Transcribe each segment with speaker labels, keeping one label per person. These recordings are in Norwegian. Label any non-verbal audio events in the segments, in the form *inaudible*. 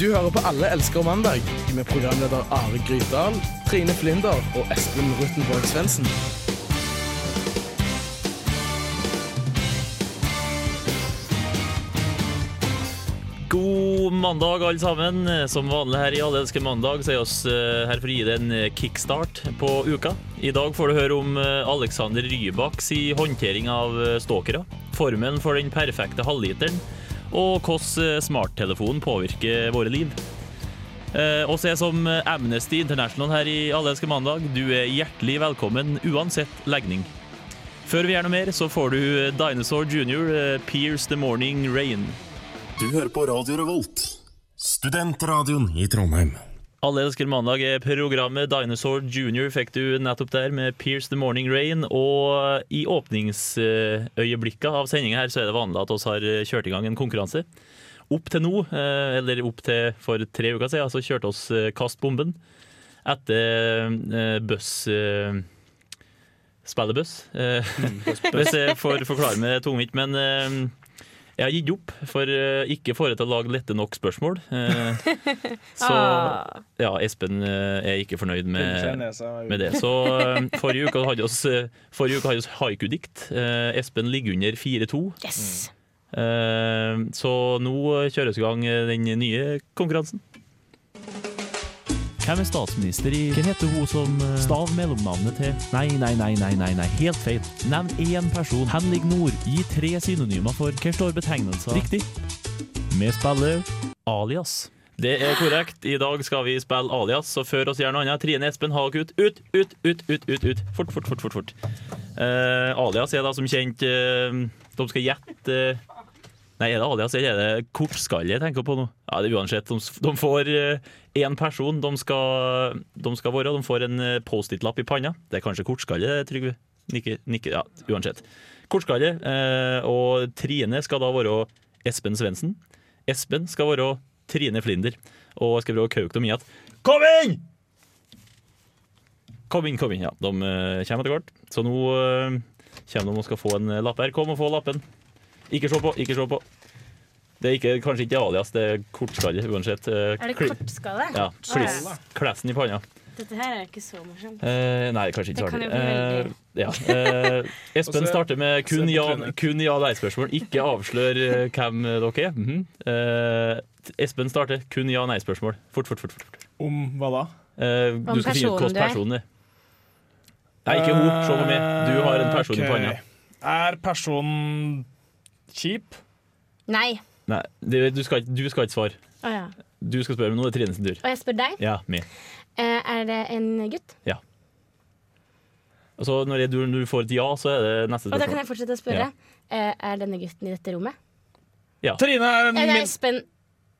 Speaker 1: Du hører på Alle elsker mandag med programleder Are Grytdal, Trine Flinder og Espen Ruttenborg Svendsen.
Speaker 2: God mandag, alle sammen. Som vanlig her i Alle elsker mandag, så er oss eh, her for å gi deg en kickstart på uka. I dag får du høre om eh, Alexander Rybaks i håndtering av eh, stalkere, formen for den perfekte halvliteren, og hvordan eh, smarttelefonen påvirker våre liv. Eh, Og så er jeg som Amnesty International her i Alle elsker mandag, du er hjertelig velkommen uansett legning. Før vi gjør noe mer, så får du eh, Dinosaur Junior, eh, Pierce the Morning Rain.
Speaker 3: Du hører på Radio Revolt, studentradioen i Trondheim.
Speaker 2: Alle elsker mandag er programmet Dinosaur Junior fikk du nettopp der med Pierce the Morning Rain. Og i åpningsøyeblikka av sendinga her så er det vanlig at oss har kjørt i gang en konkurranse. Opp til nå, eh, eller opp til for tre uker siden, så kjørte oss eh, Kast bomben etter eh, buss... eh, Spiller buss. Eh, *laughs* Hvis jeg får forklare meg tungvint, men eh, jeg har gitt opp for eh, ikke får jeg til å lage lette nok spørsmål. Eh, Så
Speaker 4: Ah.
Speaker 2: ja, Espen eh, er ikke fornøyd med, med
Speaker 1: Med
Speaker 2: det. Så eh, forrige uke hadde oss, eh, forrige uke hadde oss haiku-dikt. Eh, Espen ligger under 4-2.
Speaker 4: Yes!
Speaker 5: Mm.
Speaker 2: Eh, Så nå kjøres i gang den nye konkurransen. Hvem er statsminister i Hva heter hun som Stav mellomnavnet til Nei, nei, nei, nei, nei, nei. helt feil. Nevn én person. Henrik Nord. Gi tre synonymer for Hva står betegnelser? Riktig. Vi spiller Alias. Det er korrekt. I dag skal vi spille Alias, så før oss gjør noe annet. Trine Espen, hak ut. Ut, ut, ut, ut, ut. ut. Fort, fort, fort. fort, fort. Eh, alias er da som kjent eh, De skal gjette eh, Nei, er det alias eller er det kortskalle jeg tenker på nå? Ja, det er uansett. De, s- de får én person de skal, de skal være. De får en eh, Post-It-lapp i panna. Det er kanskje kortskalle, Trygve? Nikke, nikke, ja, uansett. Kortskalle. Eh, og Trine skal da være Espen Svendsen. Espen skal være Trine Flinder. Og jeg skal prøve å kauke dem i at Kom inn! Kom inn, kom inn. Ja, de eh, kommer etter hvert. Så nå eh, kommer de og skal få en eh, lapp her. Kom og få lappen. Ikke se på, ikke se på. Det er ikke, kanskje ikke alias, det er kortskalle uansett. Eh,
Speaker 4: Er det
Speaker 2: kli-
Speaker 4: kortskalle?
Speaker 2: Ja, kliss.
Speaker 4: Åh,
Speaker 2: Klesen i panna.
Speaker 4: Dette her er ikke så morsomt.
Speaker 2: Eh, nei, kanskje ikke
Speaker 4: Det kan
Speaker 2: så artig.
Speaker 4: jo
Speaker 2: Eh,
Speaker 4: bli
Speaker 2: ja. eh, Espen
Speaker 1: *laughs* Og så-
Speaker 2: starter med kun
Speaker 1: se på
Speaker 2: ja-
Speaker 1: Trine.
Speaker 2: kun ja-nei-spørsmål. Ikke avslør eh, hvem dere er. Mhm. Eh, Espen starter kun ja-nei-spørsmål. Fort, fort, fort. fort.
Speaker 1: Om hva da?
Speaker 2: Eh, du skal finne ut
Speaker 4: personen
Speaker 2: hvordan
Speaker 4: du er.
Speaker 2: personen er. Nei, ikke hun. Se på meg. Du har en
Speaker 1: Eh,
Speaker 2: person i
Speaker 5: Eh, Ok.
Speaker 2: panna.
Speaker 5: Er personen kjip?
Speaker 4: Nei.
Speaker 2: Nei, det, du, skal, ikke- du skal ikke svare.
Speaker 4: Å ja.
Speaker 2: Du skal spørre, men nå er det Trine sin tur.
Speaker 4: Og jeg spør deg,
Speaker 2: Ja, meg.
Speaker 4: eh, er det en gutt?
Speaker 2: Og så når jeg, du, du får et ja, så er det neste
Speaker 4: Og da kan
Speaker 2: spørsmål.
Speaker 4: jeg fortsette å spørre. Eh, Er denne gutten i dette rommet?
Speaker 5: Trine er
Speaker 4: Ja,
Speaker 5: min
Speaker 4: det er Espen.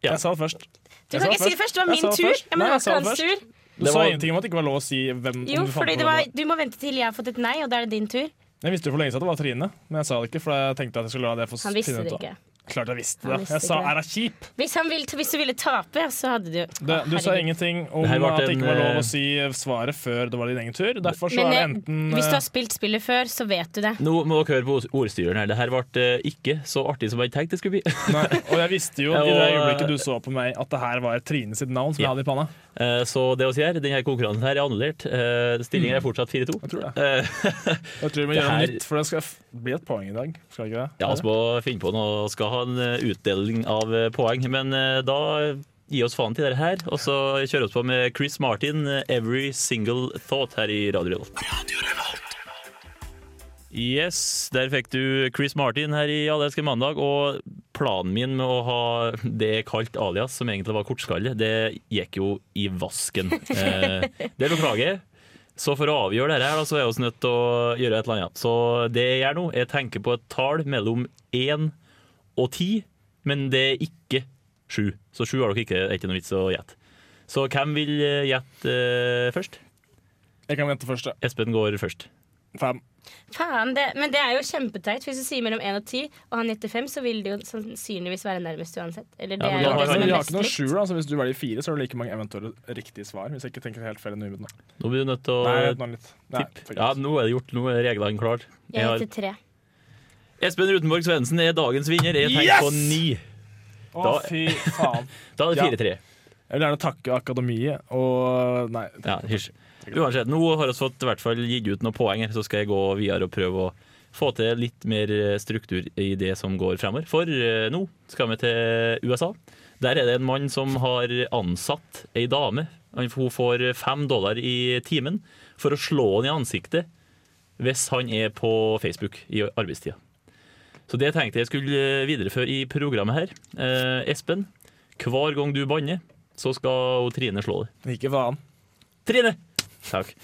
Speaker 2: Ja.
Speaker 5: Jeg sa det først.
Speaker 4: Du
Speaker 5: Jeg
Speaker 4: kan
Speaker 5: sa
Speaker 4: ikke si det først, det var
Speaker 5: Jeg
Speaker 4: min
Speaker 5: sa det
Speaker 4: tur.
Speaker 5: først.
Speaker 4: Ja, men
Speaker 5: Nei,
Speaker 4: det
Speaker 5: jeg sa
Speaker 4: var
Speaker 5: det
Speaker 4: ikke hans
Speaker 5: først.
Speaker 4: tur.
Speaker 5: Du
Speaker 2: Det
Speaker 5: sa
Speaker 2: var-
Speaker 5: ingenting om at det ikke var lov å si hvem om
Speaker 4: Jo,
Speaker 5: du fant
Speaker 4: fordi
Speaker 5: på
Speaker 4: det
Speaker 5: noe.
Speaker 4: var, du må vente til jeg har fått et nei, og da er det din tur.
Speaker 5: Jeg visste jo for lenge siden at det var Trine, men jeg sa det ikke. For jeg tenkte at jeg skulle la det få
Speaker 4: Han visste
Speaker 5: finne
Speaker 4: det
Speaker 5: ut av.
Speaker 4: ikke.
Speaker 5: Klart jeg visste
Speaker 4: Han
Speaker 5: det.
Speaker 4: visste
Speaker 5: Jeg sa
Speaker 4: ikke det.
Speaker 5: 'er hun kjip'?
Speaker 4: Hvis, han ville, hvis du ville tape, så hadde du
Speaker 5: Det,
Speaker 4: Å,
Speaker 5: du sa
Speaker 4: herregud.
Speaker 5: ingenting om
Speaker 2: Det her ble
Speaker 5: at det
Speaker 2: en,
Speaker 5: ikke var lov
Speaker 2: eh,
Speaker 5: å si svaret før det var din egen tur. Derfor så
Speaker 4: Men
Speaker 5: er det
Speaker 4: eh,
Speaker 5: enten
Speaker 4: hvis du
Speaker 5: eh,
Speaker 4: har spilt spillet før, så vet du det.
Speaker 2: Nå må dere høre på ordstyreren her. Det her ble eh, ikke så artig som jeg tenkte det skulle bli. *laughs*
Speaker 5: nei, Og jeg visste jo i det
Speaker 2: Og, eh,
Speaker 5: øyeblikket du så på meg at det her var Trine sitt navn som
Speaker 2: Ja.
Speaker 5: jeg hadde i panna.
Speaker 2: Eh, Så det vi gjør, denne konkurransen her er annullert. Eh, Stillingen er fortsatt 4-2.
Speaker 5: Mm. Jeg tror det.
Speaker 2: Eh, *laughs*
Speaker 5: Jeg tror vi må
Speaker 2: Det
Speaker 5: gjøre noe
Speaker 2: her-
Speaker 5: nytt, for det skal f- bli et poeng i dag. Skal det ikke det?
Speaker 2: Ja, vi må finne på noe. Skal ha en eh, utdeling av eh, poeng. Men eh, da gi oss faen til dette her, og så kjører vi på med Chris Martin, eh, 'Every Single Thought', her i Radio Revolt. Yes, der fikk du Chris Martin her i Alle elsker mandag. Og planen min med å ha det jeg kalte alias, som egentlig var kortskalle, det gikk jo i vasken. Eh, det beklager jeg. Så for å avgjøre dette her, da, så er vi nødt til å gjøre et eller annet. Så det jeg gjør nå, jeg tenker på et tall mellom 1 og 10, men det er ikke 7. Så 7 har dere ikke, er ikke noe vits å gjette. Så hvem vil eh, gjette eh, først?
Speaker 5: Jeg kan vente først. ja.
Speaker 2: Espen går først.
Speaker 5: Fem.
Speaker 4: Faen, det, men det er jo kjempeteit. Hvis du sier mellom 1 og 10, og han gjetter 5, så vil det jo sannsynligvis være nærmest uansett. Eller det
Speaker 2: Ja, men
Speaker 4: er
Speaker 2: da
Speaker 4: jo
Speaker 2: har
Speaker 4: det
Speaker 5: Men
Speaker 4: som
Speaker 5: vi
Speaker 4: er
Speaker 5: har ikke noen
Speaker 4: mest
Speaker 5: sju,
Speaker 4: likt.
Speaker 5: da, så hvis du velger fire, så er det like mange eventuelle riktige svar. Hvis jeg ikke tenker helt feil enn ubudne.
Speaker 2: Nå blir du nødt til å
Speaker 5: Nei, vent nå litt. Nei,
Speaker 2: tippe.
Speaker 5: fuck
Speaker 2: Ja,
Speaker 5: it.
Speaker 2: nå er det gjort. Nå er reglene klare.
Speaker 4: Jeg gjetter 3.
Speaker 2: Espen Rutenborg Svendsen er dagens vinner. Jeg tenker på
Speaker 5: Yes!
Speaker 2: 9.
Speaker 5: Å,
Speaker 2: Da-
Speaker 5: fy faen.
Speaker 2: Da er det
Speaker 5: Ja.
Speaker 2: 4-3.
Speaker 5: Jeg vil gjerne takke Akademiet og Nei.
Speaker 2: Ja, hysj. Uansett, nå har vi fått i hvert fall gitt ut noen poeng her, så skal jeg gå videre og prøve å få til litt mer eh, struktur i det som går fremover. For eh, nå skal vi til USA. Der er det en mann som har ansatt ei dame. Han- Hun får fem dollar i timen for å slå han i ansiktet hvis han er på Facebook i arbeidstida. Så det tenkte jeg skulle eh, videreføre i programmet her. Eh, Espen, hver gang du banner, så skal hun Trine slå deg.
Speaker 5: Ikke faen.
Speaker 2: Trine! Takk.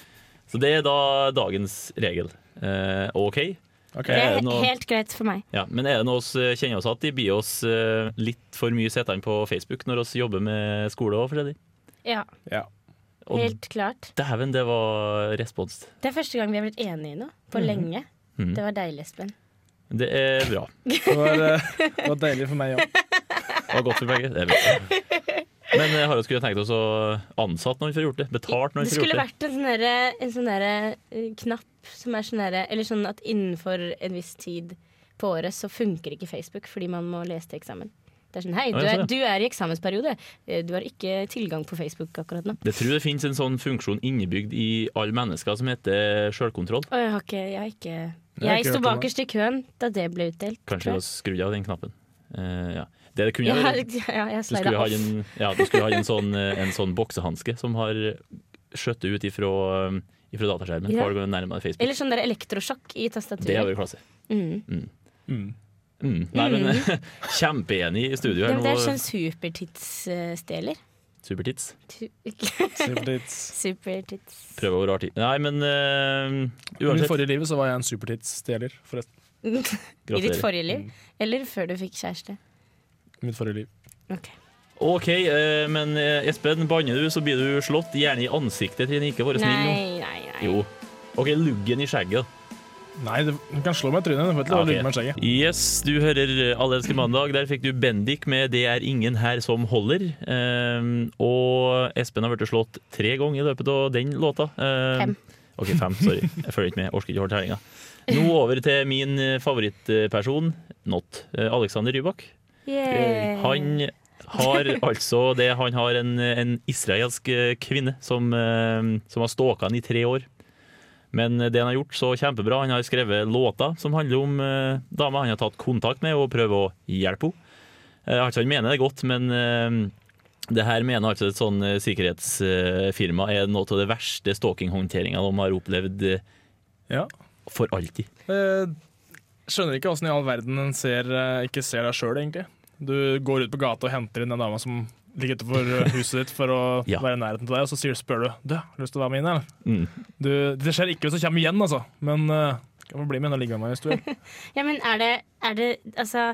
Speaker 2: Så det er da dagens regel. Eh, OK.
Speaker 5: OK.
Speaker 4: Det
Speaker 2: Er
Speaker 4: er
Speaker 2: det noe-
Speaker 4: helt greit for meg.
Speaker 2: Ja, men er det noe vi kjenner oss at de blir oss eh, litt for mye sittende på Facebook når vi jobber med skole òg, Freddy?
Speaker 4: Ja,
Speaker 5: Ja.
Speaker 2: Og
Speaker 4: helt klart.
Speaker 2: dæven, det var respons.
Speaker 4: Det er første gang vi har blitt enige nå, på lenge.
Speaker 2: Mhm.
Speaker 4: Det var deilig, Espen.
Speaker 2: Det er bra.
Speaker 5: Det var, eh, det var deilig for meg òg.
Speaker 2: Det var godt for begge. Det er bra. Men eh, har vi skulle tenkt oss å ansette noen for å gjort det? Betalt noen
Speaker 4: Det
Speaker 2: for å
Speaker 4: skulle
Speaker 2: gjort det?
Speaker 4: vært en sånn derre- en sånn derre, eh, knapp som er sånn derre Eller sånn at innenfor en viss tid på året så funker ikke Facebook fordi man må lese til eksamen. Det er sånn hei,
Speaker 2: Ja,
Speaker 4: du
Speaker 2: jeg ser
Speaker 4: er,
Speaker 2: det.
Speaker 4: du er i eksamensperiode. Eh, Du har ikke tilgang på Facebook akkurat nå.
Speaker 2: Det tror jeg det finnes en sånn funksjon innebygd i alle mennesker som heter sjølkontroll.
Speaker 4: Og jeg har ikke Jeg, har ikke,
Speaker 5: Jeg har
Speaker 4: jeg
Speaker 5: ikke hørt
Speaker 4: sto
Speaker 5: om det.
Speaker 4: bakerst i køen da det ble utdelt.
Speaker 2: Kanskje vi
Speaker 4: tror jeg.
Speaker 2: skrudde av den knappen. Eh, ja. Det det kunne
Speaker 4: Ja,
Speaker 2: ha vært-
Speaker 4: *laughs* ja, jeg
Speaker 2: Du
Speaker 4: slida
Speaker 2: skulle ha
Speaker 4: off.
Speaker 2: en, ja, du skulle ha en sånn, en sånn boksehanske som har skjøtt ut ifra, eh, ifra dataskjermen.
Speaker 4: Ja.
Speaker 2: Hver gang du nærmer deg Facebook.
Speaker 4: Eller sånn der elektrosjokk i
Speaker 2: Det har
Speaker 4: tastaturet.
Speaker 2: vært klasse.
Speaker 4: Mm.
Speaker 5: Mm.
Speaker 2: Mm. Nei, men *laughs* kjempeenig i studio
Speaker 4: Ja,
Speaker 2: her
Speaker 4: men det er
Speaker 2: nå.
Speaker 4: sånn supertidsstjeler.
Speaker 2: Supertits.
Speaker 5: Supertits.
Speaker 4: Supertids.
Speaker 2: Prøv å være artig. Nei, men eh,
Speaker 5: Men I
Speaker 2: uansett.
Speaker 5: forrige livet så var jeg en supertits-stjeler, forresten.
Speaker 4: I ditt
Speaker 2: Gratulerer. Mm.
Speaker 4: forrige liv? Eller før du fikk kjæreste?
Speaker 5: I Mitt forrige liv.
Speaker 2: OK, eh, men eh, Espen, banner du, så blir du slått. Gjerne i ansiktet, Trine. Ikke være snill nå.
Speaker 4: Nei, nei, nei.
Speaker 2: Jo. OK, luggen i skjegget.
Speaker 5: Nei, du du kan slå meg i trynet. Du får ikke lov å lure meg i skjegget.
Speaker 2: Yes, du hører Allelske mandag. Der fikk du Bendik med 'Det er ingen her som holder'. Ehm, og Espen har blitt slått tre ganger i løpet av den låta. Ehm,
Speaker 4: Fem.
Speaker 2: Ok, fem, sorry. Jeg følger ikke med. Jeg Orker ikke holde tellinga. Nå over til min eh, favorittperson, Not. eh, Alexander Rybak.
Speaker 4: Yay.
Speaker 2: Han har
Speaker 4: *laughs*
Speaker 2: altså det Han har en, en israelsk eh, kvinne som, eh, som har stalka han i tre år. Men det han har gjort, så kjempebra. Han har skrevet låter som handler om eh, dama han har tatt kontakt med, og prøver å hjelpe henne. Eh, altså, han mener det godt, men eh, det her mener altså et sånn eh, sikkerhetsfirma er noe av det verste stalkinghåndteringa de har opplevd eh,
Speaker 5: Ja.
Speaker 2: for alltid.
Speaker 5: Eh, skjønner ikke åssen i all verden en ser, eh, ikke ser deg sjøl, egentlig. Du går ut på gata og henter inn den dama som ligger utenfor eh, huset ditt for å
Speaker 2: *laughs* Ja.
Speaker 5: være i nærheten til deg, og så sier, spør du Du, har du lyst til å være med inn, eller?
Speaker 2: Mm.
Speaker 5: Du, det skjer ikke hvis du kommer igjen, altså. Men eh, kan få bli med og ligge med meg hvis
Speaker 2: *laughs*
Speaker 5: du vil.
Speaker 4: Ja, men er det, er det Altså,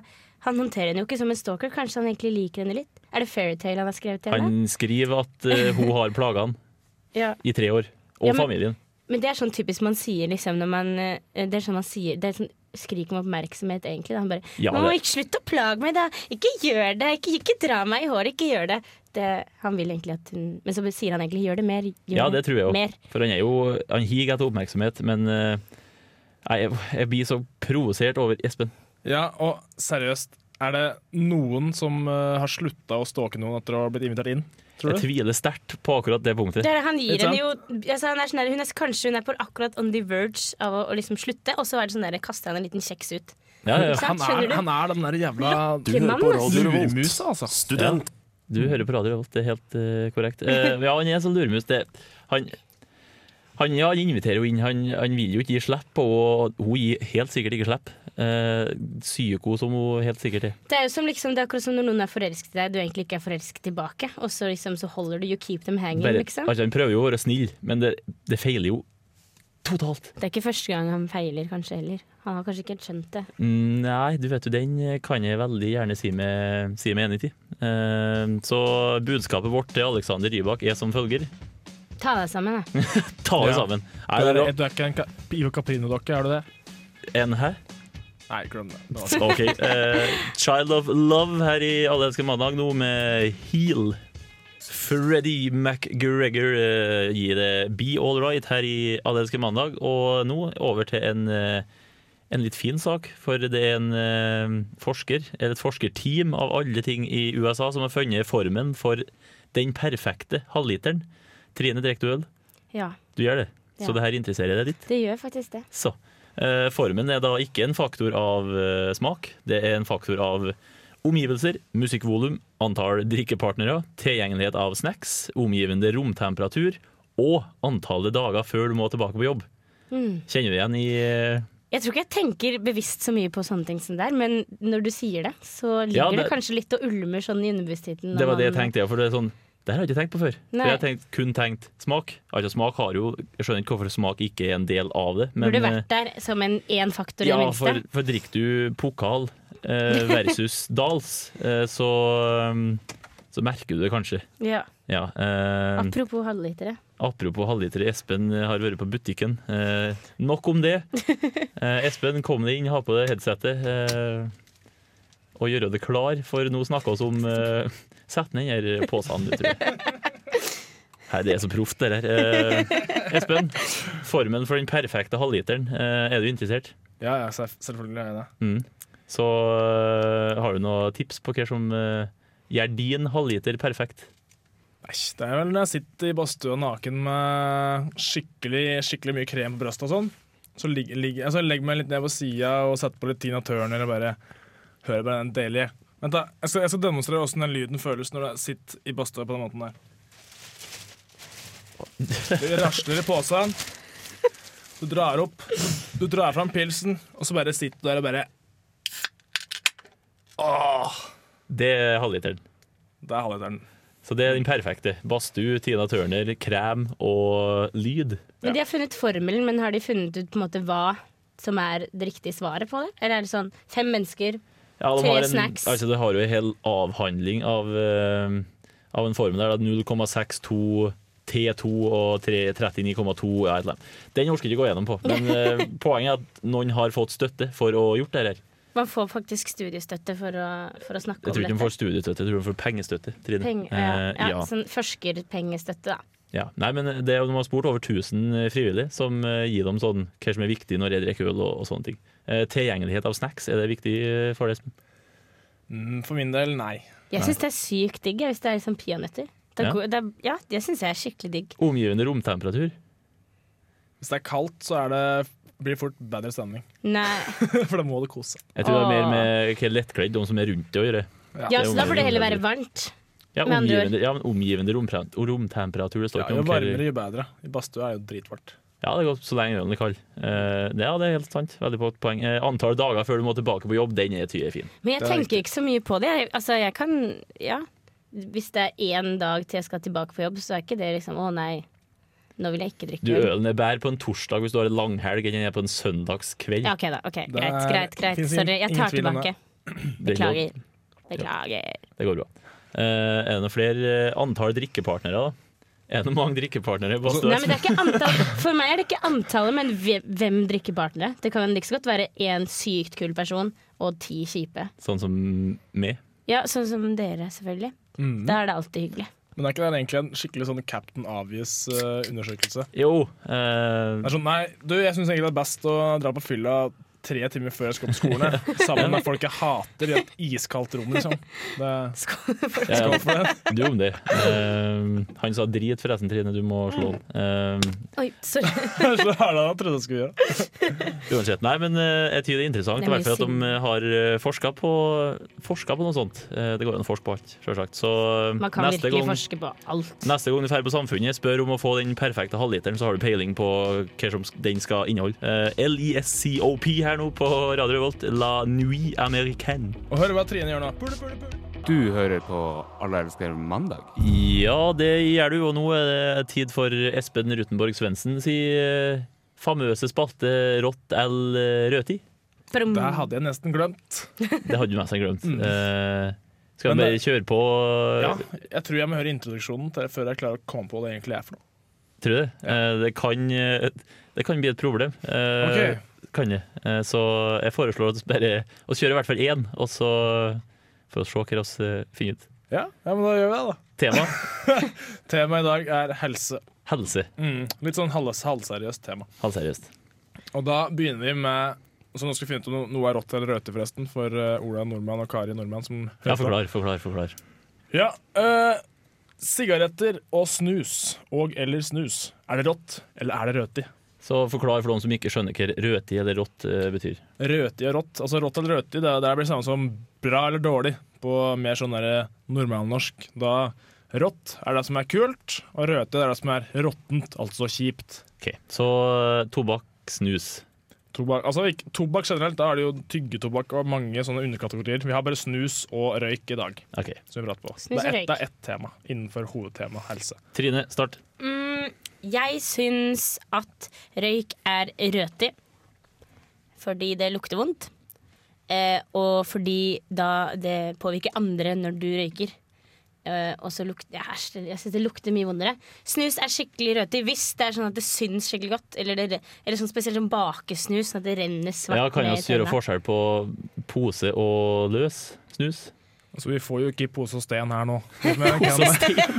Speaker 4: han håndterer henne jo ikke som en stalker. Kanskje han egentlig liker henne litt? Er det fairytale han har skrevet til henne?
Speaker 2: Han skriver at eh, hun har plaga han
Speaker 4: Ja.
Speaker 2: i tre år. Og
Speaker 4: Ja, men-
Speaker 2: familien.
Speaker 4: Men det er sånn typisk man sier liksom når man eh, Det er sånn man sier Det er sånn skrik om oppmerksomhet, egentlig. Da. Han bare
Speaker 2: Ja,
Speaker 4: Nå,
Speaker 2: det-
Speaker 4: ikke slutt å plage meg, da! Ikke gjør det! Ikke, ikke dra meg i håret! Ikke gjør det! det! Han vil egentlig at hun Men så sier han egentlig gjør det mer. Gjør
Speaker 2: Ja, det tror jeg
Speaker 4: Mer.
Speaker 2: òg. For han er jo Han higer etter oppmerksomhet, men eh, nei, jeg, jeg blir så provosert over Espen.
Speaker 5: Ja, og seriøst, er det noen som eh, har slutta å stalke noen etter å ha blitt invitert inn? Tror
Speaker 2: Jeg
Speaker 5: du?
Speaker 2: tviler sterkt på akkurat det punktet.
Speaker 4: Det er, han gir
Speaker 5: Ikke
Speaker 4: henne jo altså, han er sånn der, hun er, Kanskje hun er på akkurat on the verge av å, å liksom slutte, og så er det sånn der, kaster han en liten kjeks ut.
Speaker 2: Ja, ja,
Speaker 4: sant,
Speaker 5: Han
Speaker 4: skjønner
Speaker 5: er,
Speaker 4: du?
Speaker 5: han er den der jævla
Speaker 3: Du
Speaker 4: Hvem
Speaker 3: hører
Speaker 4: er
Speaker 3: på
Speaker 4: han,
Speaker 3: Radio Revolt.
Speaker 5: lurmusa, altså.
Speaker 3: Student.
Speaker 2: Du hører på radio Revolt, det er helt eh, korrekt. Eh, ja, han er sånn luremus. Det, han, han, ja, han inviterer jo inn, han, han vil jo ikke gi slipp, og hun gir helt sikkert ikke slipp. Eh, psyko som hun helt sikkert er.
Speaker 4: Det er jo som liksom, det er akkurat som når noen er forelsket i deg, du egentlig ikke er forelsket tilbake, og så liksom så holder du You keep them hanging,
Speaker 2: Bare,
Speaker 4: liksom.
Speaker 2: altså, han prøver jo å være snill, men det, det feiler jo totalt.
Speaker 4: Det er ikke første gang han feiler, kanskje, heller. Han har kanskje ikke helt skjønt det.
Speaker 2: Mm, Nei, du vet jo, den kan jeg veldig gjerne si meg, si meg enig i. Eh, Så budskapet vårt til Alexander Rybak er som følger.
Speaker 4: Ta deg sammen, da.
Speaker 2: Ta det
Speaker 5: Ja.
Speaker 2: sammen. Nei,
Speaker 5: Du
Speaker 2: det
Speaker 5: er,
Speaker 2: er bra.
Speaker 5: du er ikke en Ka- Ivo Caprino-dokke, er du det?
Speaker 2: En her.
Speaker 5: Nei, glem det. *laughs* det
Speaker 2: *laughs*
Speaker 5: var
Speaker 2: Ok. eh, Child of Love her i Alle elsker mandag nå med Heal. Freddy McGregor eh, gir det Be All Right her i Alle elsker mandag. Og nå over til en, eh, en litt fin sak, for det er en eh, forsker, eller et forskerteam av alle ting i USA, som har funnet formen for den perfekte halvliteren. Trine, drikker du øl?
Speaker 4: Ja,
Speaker 2: Du gjør det.
Speaker 4: Ja.
Speaker 2: Så det her interesserer deg litt.
Speaker 4: det gjør faktisk det.
Speaker 2: Så. eh, formen er da ikke en faktor av eh, smak, det er en faktor av omgivelser, musikkvolum, antall drikkepartnere, tilgjengelighet av snacks, omgivende romtemperatur og antallet dager før du må tilbake på jobb.
Speaker 4: Mm.
Speaker 2: Kjenner du igjen i eh,
Speaker 4: Jeg tror ikke jeg tenker bevisst så mye på sånne ting som det er, men når du sier det, så ligger
Speaker 2: Ja,
Speaker 4: det,
Speaker 2: det-
Speaker 4: kanskje litt og ulmer sånn i underbevisstheten. når
Speaker 2: Det var det jeg
Speaker 4: man-
Speaker 2: tenkte, ja. For det er sånn Det her har jeg ikke tenkt på før. For
Speaker 4: Nei.
Speaker 2: jeg har tenkt, kun tenkt smak. Altså smak har jo Jeg skjønner ikke hvorfor smak ikke er en del av det. Men eh,
Speaker 4: Burde vært der som en én faktor, i
Speaker 2: ja,
Speaker 4: det minste.
Speaker 2: for, for drikker du pokal eh, versus
Speaker 4: *laughs*
Speaker 2: Dals, eh, så um, så merker du det kanskje.
Speaker 4: Ja.
Speaker 2: Ja. Eh,
Speaker 4: Apropos halvlitere.
Speaker 2: apropos halvliter, Espen har vært på butikken. Eh, nok om det. Eh, Espen, kom deg inn, ha på deg headsetet. Eh, og gjøre det klar, for nå snakker vi om eh, Sett ned den her posen, du, tror jeg.
Speaker 4: *laughs*
Speaker 2: Nei, det er så proft, det der. Eh, Espen, formen for den perfekte halvliteren, eh, er du interessert?
Speaker 5: Ja, ja, selv- selvfølgelig er jeg det.
Speaker 2: Mm. Så eh, har du noen tips på hva som eh, gjør din halvliter perfekt?
Speaker 5: Nei, det er vel når jeg sitter i badstua naken med skikkelig, skikkelig mye krem på brystet og sånn. Så ligger, ligger, altså legger jeg meg litt ned på sida og setter på litt Tina Turner og bare hører på den deilige. Vent, da. Jeg skal, jeg skal demonstrere åssen den lyden føles når jeg sitter i badstua på den måten der. Det rasler i posen. Du drar opp. Du drar fram pilsen, og så bare sitter du der og bare Åh!
Speaker 2: Det er halvliteren.
Speaker 5: Der hadde jeg den.
Speaker 2: Så det er den perfekte. Badstue, Tina Turner, krem og lyd.
Speaker 4: Men De har funnet formelen, men har de funnet ut på en måte hva som er det riktige svaret på det? Eller er det sånn fem mennesker?
Speaker 2: Ja, de
Speaker 4: Tre
Speaker 2: har en,
Speaker 4: snacks.
Speaker 2: Altså, det har jo en hel avhandling av, eh, av en formel der. da. 0,62 T2 og 3 39,2 ja, et eller annet. Den orker jeg ikke gå gjennom på. Men eh,
Speaker 4: *laughs*
Speaker 2: poenget er at noen har fått støtte for å ha gjort det her.
Speaker 4: Man får faktisk studiestøtte for å, for å snakke
Speaker 2: Jeg tror ikke de
Speaker 4: om dette.
Speaker 2: får studiestøtte, jeg tror de får pengestøtte. Trine.
Speaker 4: Peng-
Speaker 2: Eh,
Speaker 4: ja, ja, Sånn forskerpengestøtte, da.
Speaker 2: Ja, nei, men det er jo De har spurt over 1000 frivillige, som eh, gir dem sånn, hva som er viktig når jeg drikker øl. og, og sånne ting. Eh, tilgjengelighet av snacks, er det viktig eh, for deg, Espen?
Speaker 5: Mm, For min del, nei.
Speaker 4: Jeg syns det er sykt digg jeg, hvis det er liksom peanøtter. Det er
Speaker 2: Ja.
Speaker 4: go- det er- Ja, det syns jeg er skikkelig digg.
Speaker 2: Omgivende romtemperatur.
Speaker 5: Hvis det er kaldt, så er det, blir det fort bedre stemning.
Speaker 4: Nei.
Speaker 5: *laughs* For da må du kose. deg.
Speaker 2: Jeg tror det er
Speaker 4: Åh.
Speaker 2: mer med eh, hva lettkledd de som er rundt det å gjøre.
Speaker 4: Ja,
Speaker 2: det er
Speaker 4: så da burde det
Speaker 2: omgivende
Speaker 4: heller være varmt.
Speaker 2: Ja,
Speaker 4: Med andre ord.
Speaker 2: omgivende, ja, men omgivende rompre- og romtemperatur. Det står
Speaker 5: Ja,
Speaker 2: ikke
Speaker 5: jo
Speaker 2: om hva-
Speaker 5: varmere, jo bedre. I badstua er jo dritvarmt.
Speaker 2: Ja, det går så lenge ølen er kald. Eh, det- ja, det er helt sant. Veldig godt poeng. Eh, antall dager før du må tilbake på jobb, den er tydeligvis fin.
Speaker 4: Men jeg
Speaker 5: Det er
Speaker 4: tenker ikke så mye på det. Jeg, altså, jeg kan Ja. Hvis det er én dag til jeg skal tilbake på jobb, så er ikke det liksom Å nei, nå vil jeg ikke drikke
Speaker 2: Du,
Speaker 4: øl.
Speaker 2: Ølen er bedre på en torsdag hvis du har en langhelg enn den er på en søndagskveld.
Speaker 4: Ja, OK, da. ok,
Speaker 5: Det
Speaker 4: Greit,
Speaker 5: er-
Speaker 4: greit. greit
Speaker 5: finnes
Speaker 4: Sorry. Jeg tar
Speaker 5: ingen tvil om
Speaker 4: tilbake.
Speaker 2: Den går-
Speaker 5: det.
Speaker 4: Beklager. Beklager.
Speaker 2: Det går bra. Eh, er det noe flere eh, antall drikkepartnere? da? Er det noe mange drikkepartnere?
Speaker 5: Altså,
Speaker 2: Bare stå-
Speaker 4: Altså, Nei, men det er ikke antall
Speaker 5: *laughs*
Speaker 4: For meg er det ikke antallet, men hve- hvem drikker partnere. Det kan like så godt være én sykt kul person og ti kjipe.
Speaker 2: Sånn som meg.
Speaker 4: Ja, sånn som dere, selvfølgelig.
Speaker 2: Mm.
Speaker 4: Da er det alltid hyggelig.
Speaker 5: Men er ikke det egentlig en skikkelig sånn Captain Obvious-undersøkelse?
Speaker 2: Jo. eh,
Speaker 5: Det er sånn, nei, du, jeg syns egentlig det er best å dra på fylla tre timer før jeg skal på skolen. jeg. Sammen med folk jeg hater i et iskaldt rom, liksom. Det,
Speaker 2: ja,
Speaker 5: skål for det.
Speaker 2: *laughs*
Speaker 5: *laughs*
Speaker 2: ja, du om det. Eh, han sa drit, forresten, Trine. Du må slå Eh, han.
Speaker 4: Oi, sorry.
Speaker 5: Så er det det jeg trodde jeg skulle gjøre.
Speaker 2: Eh, uansett. Nei, men eh, jeg tyder det er interessant. I
Speaker 4: Det er mye
Speaker 2: hvert fall at de eh, har eh, forska på, forska på noe sånt. Eh, det går an å forske på alt, sjølsagt. Så eh,
Speaker 4: *laughs* Man kan
Speaker 2: neste
Speaker 4: virkelig
Speaker 2: gang
Speaker 4: forske på alt.
Speaker 2: Neste gang du drar på Samfunnet, spør om å få den perfekte halvliteren, så har du peiling på hva som den skal inneholde. Eh, LESCOP her nå på Radio Revolt. La nuit américaine.
Speaker 5: Og hør hva Trine gjør nå. Pule, pule, pule.
Speaker 6: Du hører på Alle elsker mandag.
Speaker 2: Ja, det gjør du, og nå er det tid for Espen Rutenborg Svendsen si eh, famøse spalte Rått L Røti.
Speaker 4: Brum.
Speaker 5: Det hadde jeg nesten glemt.
Speaker 2: Det hadde du nesten glemt. Eh, skal vi
Speaker 5: Mm. Men
Speaker 2: bare
Speaker 5: det-
Speaker 2: kjøre på? eh,
Speaker 5: Ja, jeg tror jeg må høre introduksjonen til, før jeg klarer å komme på hva det egentlig er for noe.
Speaker 2: Tror du det? Eh, det, kan, eh, det kan bli et problem. Eh,
Speaker 5: Ok.
Speaker 2: Kan det. Eh, så jeg foreslår at vi bare å kjøre i hvert fall én, og så får vi se hva vi eh, finner ut.
Speaker 5: Ja, ja, men da gjør vi det, da.
Speaker 2: Tema
Speaker 5: *laughs* Temaet i dag er helse.
Speaker 2: helse.
Speaker 5: Mm, litt sånn halvs- halvseriøst tema.
Speaker 2: Halvseriøst.
Speaker 5: Og da begynner vi med Så nå skal vi finne ut om no- noe er rått eller røte, forresten, for eh, Ola Nordmann og Kari Nordmann som
Speaker 2: Ja,
Speaker 5: hører på.
Speaker 2: forklar, forklar, forklar.
Speaker 5: Ja, eh, Sigaretter og snus, og eller snus. Er det rått, eller er det røti?
Speaker 2: Så forklar for noen som ikke skjønner hva rødti eller rått eh, betyr.
Speaker 5: Røti og rått. Altså rått eller røti, det, det blir samme som bra eller dårlig på mer sånn der normalnorsk. Da rått er det som er kult, og røti er det som er råttent, altså kjipt.
Speaker 2: Ok, Så eh, tobakk, snus.
Speaker 5: Tobakk, altså ikke, tobakk generelt, da er det jo tyggetobakk og mange sånne underkategorier. Vi har bare snus og røyk i dag.
Speaker 2: Ok,
Speaker 5: Som vi prater på.
Speaker 4: Snus og
Speaker 5: det, er ett,
Speaker 4: røyk.
Speaker 5: det er ett tema innenfor hovedtema helse.
Speaker 2: Trine, start.
Speaker 4: Mm, jeg syns at røyk er røtig. Fordi det lukter vondt. Eh, og fordi da det påvirker andre når du røyker. Eh, og så lukter ja, æsj, det- Jeg syns det lukter mye vondere. Snus er skikkelig røtig hvis det er sånn at det syns skikkelig godt. Eller, det, eller sånn spesielt sånn bakesnus, sånn at det renner svart
Speaker 2: Ja, kan
Speaker 4: ned
Speaker 2: vi
Speaker 4: i
Speaker 2: også gjøre
Speaker 4: tenna.
Speaker 2: forskjell på pose og løs snus?
Speaker 5: Altså, vi får jo ikke pose og sten
Speaker 4: *laughs*
Speaker 5: her nå. Men kan-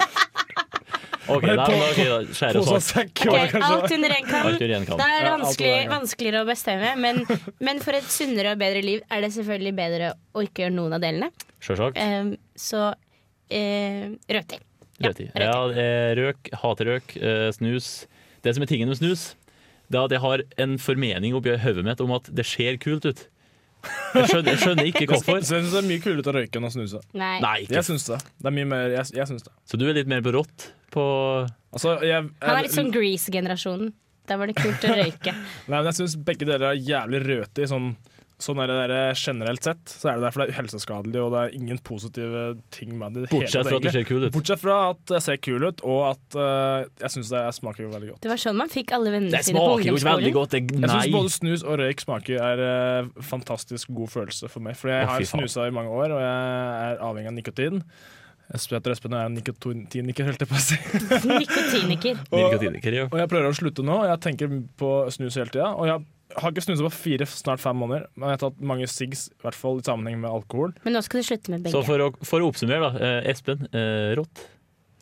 Speaker 2: Ok,
Speaker 5: Men
Speaker 2: da,
Speaker 5: på-
Speaker 2: ok, da skjærer
Speaker 5: Pose og
Speaker 2: oss
Speaker 5: sekk
Speaker 4: Ok,
Speaker 5: var det
Speaker 4: alt
Speaker 5: kanskje.
Speaker 4: under én kam.
Speaker 2: Alt under én kam.
Speaker 4: Da er det
Speaker 5: Ja, alt
Speaker 4: vanskelig,
Speaker 5: under én kam.
Speaker 4: vanskeligere å bestemme. Men, men for et sunnere og bedre liv er det selvfølgelig bedre å ikke gjøre noen av delene.
Speaker 2: Sjølsagt.
Speaker 4: Ehm, så uh, rødtid.
Speaker 2: Rødtid. Ja, det er røk, hater røk, eh, snus. Det som er tingen med snus, det er at jeg har en formening oppi hodet mitt om at det ser kult ut. Jeg skjønner, jeg skjønner
Speaker 4: *laughs*
Speaker 2: ikke hvorfor.
Speaker 5: Så jeg synes det er mye kulere ut å røyke enn å snuse.
Speaker 4: Nei.
Speaker 2: Nei, ikke.
Speaker 5: Jeg syns det. Det er mye mer Jeg, jeg syns det.
Speaker 2: Så du er litt mer på rått på
Speaker 4: Mm,
Speaker 5: Altså, jeg,
Speaker 4: Han er
Speaker 5: jeg,
Speaker 4: litt sånn Grease-generasjonen. Da var det kult å røyke.
Speaker 5: nei, men jeg syns begge dere er jævlig røte i sånn Sånn er det der generelt sett, så er det derfor det er helseskadelig, og det er ingen positive ting med det. i det hele
Speaker 2: Bortsett
Speaker 5: tatt,
Speaker 2: fra at det
Speaker 5: egentlig.
Speaker 2: ser kul ut.
Speaker 5: Bortsett fra at jeg ser kul ut, og at eh, jeg syns det smaker veldig godt.
Speaker 4: Det var sånn man fikk alle vennene
Speaker 2: Det
Speaker 4: sine på
Speaker 2: smaker jo ikke veldig
Speaker 4: ungdomsskolen.
Speaker 2: godt. Det,
Speaker 5: Jeg syns
Speaker 2: nei.
Speaker 5: både snus og røyk smaker er eh, fantastisk god følelse for meg. For jeg
Speaker 2: Å,
Speaker 5: har
Speaker 2: fy faen.
Speaker 5: snusa i mange år, og jeg er avhengig av nikotin. Jeg spør etter Espen, og jeg er nikotiniker, holdt jeg på å si.
Speaker 4: *laughs* Nikotiniker.
Speaker 2: Nikotiniker, ja.
Speaker 5: Og jeg prøver å slutte nå, og jeg tenker på snus hele tida. Og jeg har ikke snuset på fire, snart fem måneder, men jeg har tatt mange siggs, i hvert fall i sammenheng med alkohol.
Speaker 4: Men nå skal du slutte med
Speaker 2: Så
Speaker 4: begge.
Speaker 2: for å, for å oppsummere, da. eh, Espen, eh, rått.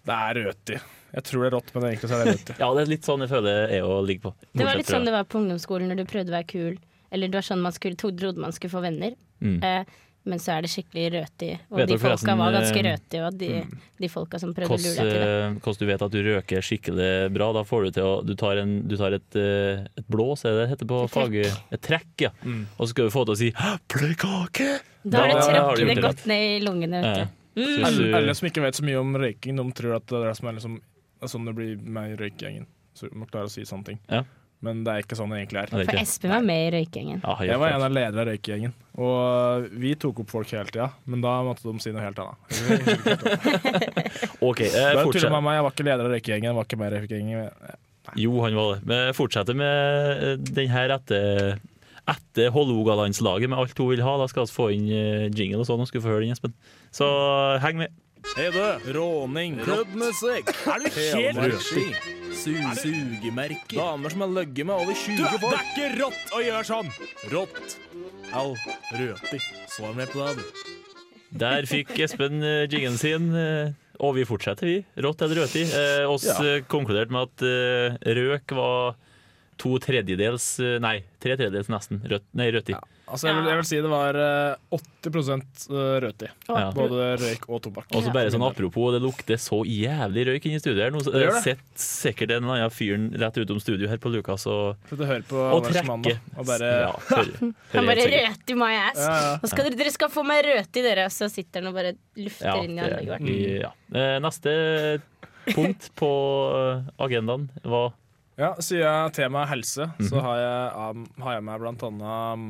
Speaker 5: Det er røti. Jeg tror det er rått, men egentlig så er det røti.
Speaker 2: Ja, det er litt sånn jeg føler jeg òg ligger på.
Speaker 4: Det var
Speaker 2: Bortsett
Speaker 4: litt
Speaker 2: fra-
Speaker 4: sånn det var på ungdomsskolen når du prøvde å være kul. Eller det var sånn man skulle, to- trodde man skulle få venner.
Speaker 2: Mm.
Speaker 4: Eh, men så er det skikkelig røtig. Og
Speaker 2: Vet
Speaker 4: de
Speaker 2: dere
Speaker 4: folka
Speaker 2: forresten,
Speaker 4: var ganske
Speaker 2: eh,
Speaker 4: røti, og de, de folka som prøvde å lure deg til det.
Speaker 2: Hvordan hvordan eh, du vet at du røker skikkelig bra. Da får du til å Du tar, en, du tar et, eh, et blås, er det det heter på
Speaker 4: Et
Speaker 2: fag...
Speaker 4: trekk.
Speaker 2: Et trekk, ja.
Speaker 5: Mm.
Speaker 2: *laughs* Og så skal du få til å si «Hæ, pløykake!
Speaker 4: Da har
Speaker 2: Da
Speaker 4: det
Speaker 2: har du
Speaker 4: tråkket
Speaker 2: gjort
Speaker 4: det
Speaker 2: det
Speaker 4: godt ned i lungene.
Speaker 2: Ja, ja.
Speaker 4: Vet du.
Speaker 2: Så hvis
Speaker 5: Alle,
Speaker 2: du-
Speaker 5: alle som ikke vet så mye om røyking, de tror at det er det som er liksom, det er sånn det blir med i røykegjengen. Så du må klare å si sånne ting.
Speaker 2: Ja.
Speaker 5: Men det er ikke sånn det egentlig er.
Speaker 2: Ja, det er
Speaker 4: For
Speaker 2: ikke- Ah,
Speaker 4: Espen var med i røykgjengen.
Speaker 2: Ja,
Speaker 5: Jeg var en
Speaker 2: klart.
Speaker 5: av lederne av røykegjengen, og vi tok opp folk hele tida. Men da måtte de si noe helt annet.
Speaker 2: OK, eh,
Speaker 5: Da tuller
Speaker 2: fortsett.
Speaker 5: med meg, jeg var ikke leder av røykegjengen. Jeg var ikke med i røykegjengen.
Speaker 2: Jo, han var det. Men fortsetter med eh, den her etter etter Hålogalandslaget med alt hun vil ha. Da skal vi få inn eh, jingle og sånn, og skulle få høre den, Espen. Så heng med.
Speaker 5: Hei du, råning,
Speaker 1: Køddmusikk,
Speaker 5: er du helt
Speaker 1: helmarkski, sugemerker
Speaker 5: Damer som har løgget med over 20
Speaker 1: folk.
Speaker 5: Det er ikke rått å gjøre sånn! Rått. Au. Røti.
Speaker 1: Svar meg på det.
Speaker 2: Der fikk Espen eh, jingen sin, eh, og vi fortsetter, vi. Rått eller røti. Eh, oss
Speaker 5: Ja.
Speaker 2: eh, konkluderte med at eh, røk var to tredjedels eh, Nei, tre tredjedels nesten. Rødt, nei, røti.
Speaker 5: Altså, jeg vil, jeg vil si det var eh, 80 røti.
Speaker 2: Ja.
Speaker 5: Både røyk og tobakk.
Speaker 2: Og så bare sånn apropos, det lukter så jævlig røyk inne i studioet her nå.
Speaker 5: gjør
Speaker 2: Jeg
Speaker 5: det.
Speaker 2: sett sikkert en eller annen fyren rett utom studio her på Lukas og,
Speaker 5: Slutt å høre på
Speaker 2: og
Speaker 5: Anders Mann,
Speaker 2: trekke.
Speaker 5: da, og bare
Speaker 2: Ja,
Speaker 5: *laughs*
Speaker 2: hører-
Speaker 4: Han
Speaker 2: hører
Speaker 4: bare
Speaker 2: helt sikkert.
Speaker 4: røt i my ass.
Speaker 5: Ja, ja.
Speaker 4: Nå skal dere, dere skal få meg røt i dere, og så sitter han og bare lufter
Speaker 2: Ja,
Speaker 4: inn i
Speaker 2: det-
Speaker 4: anlegget vårt.
Speaker 2: vi- ja. Eh, Neste punkt på eh, agendaen var
Speaker 5: Ja, siden temaet er helse,
Speaker 2: Mhm.
Speaker 5: så har jeg, um, har jeg med blant annet um,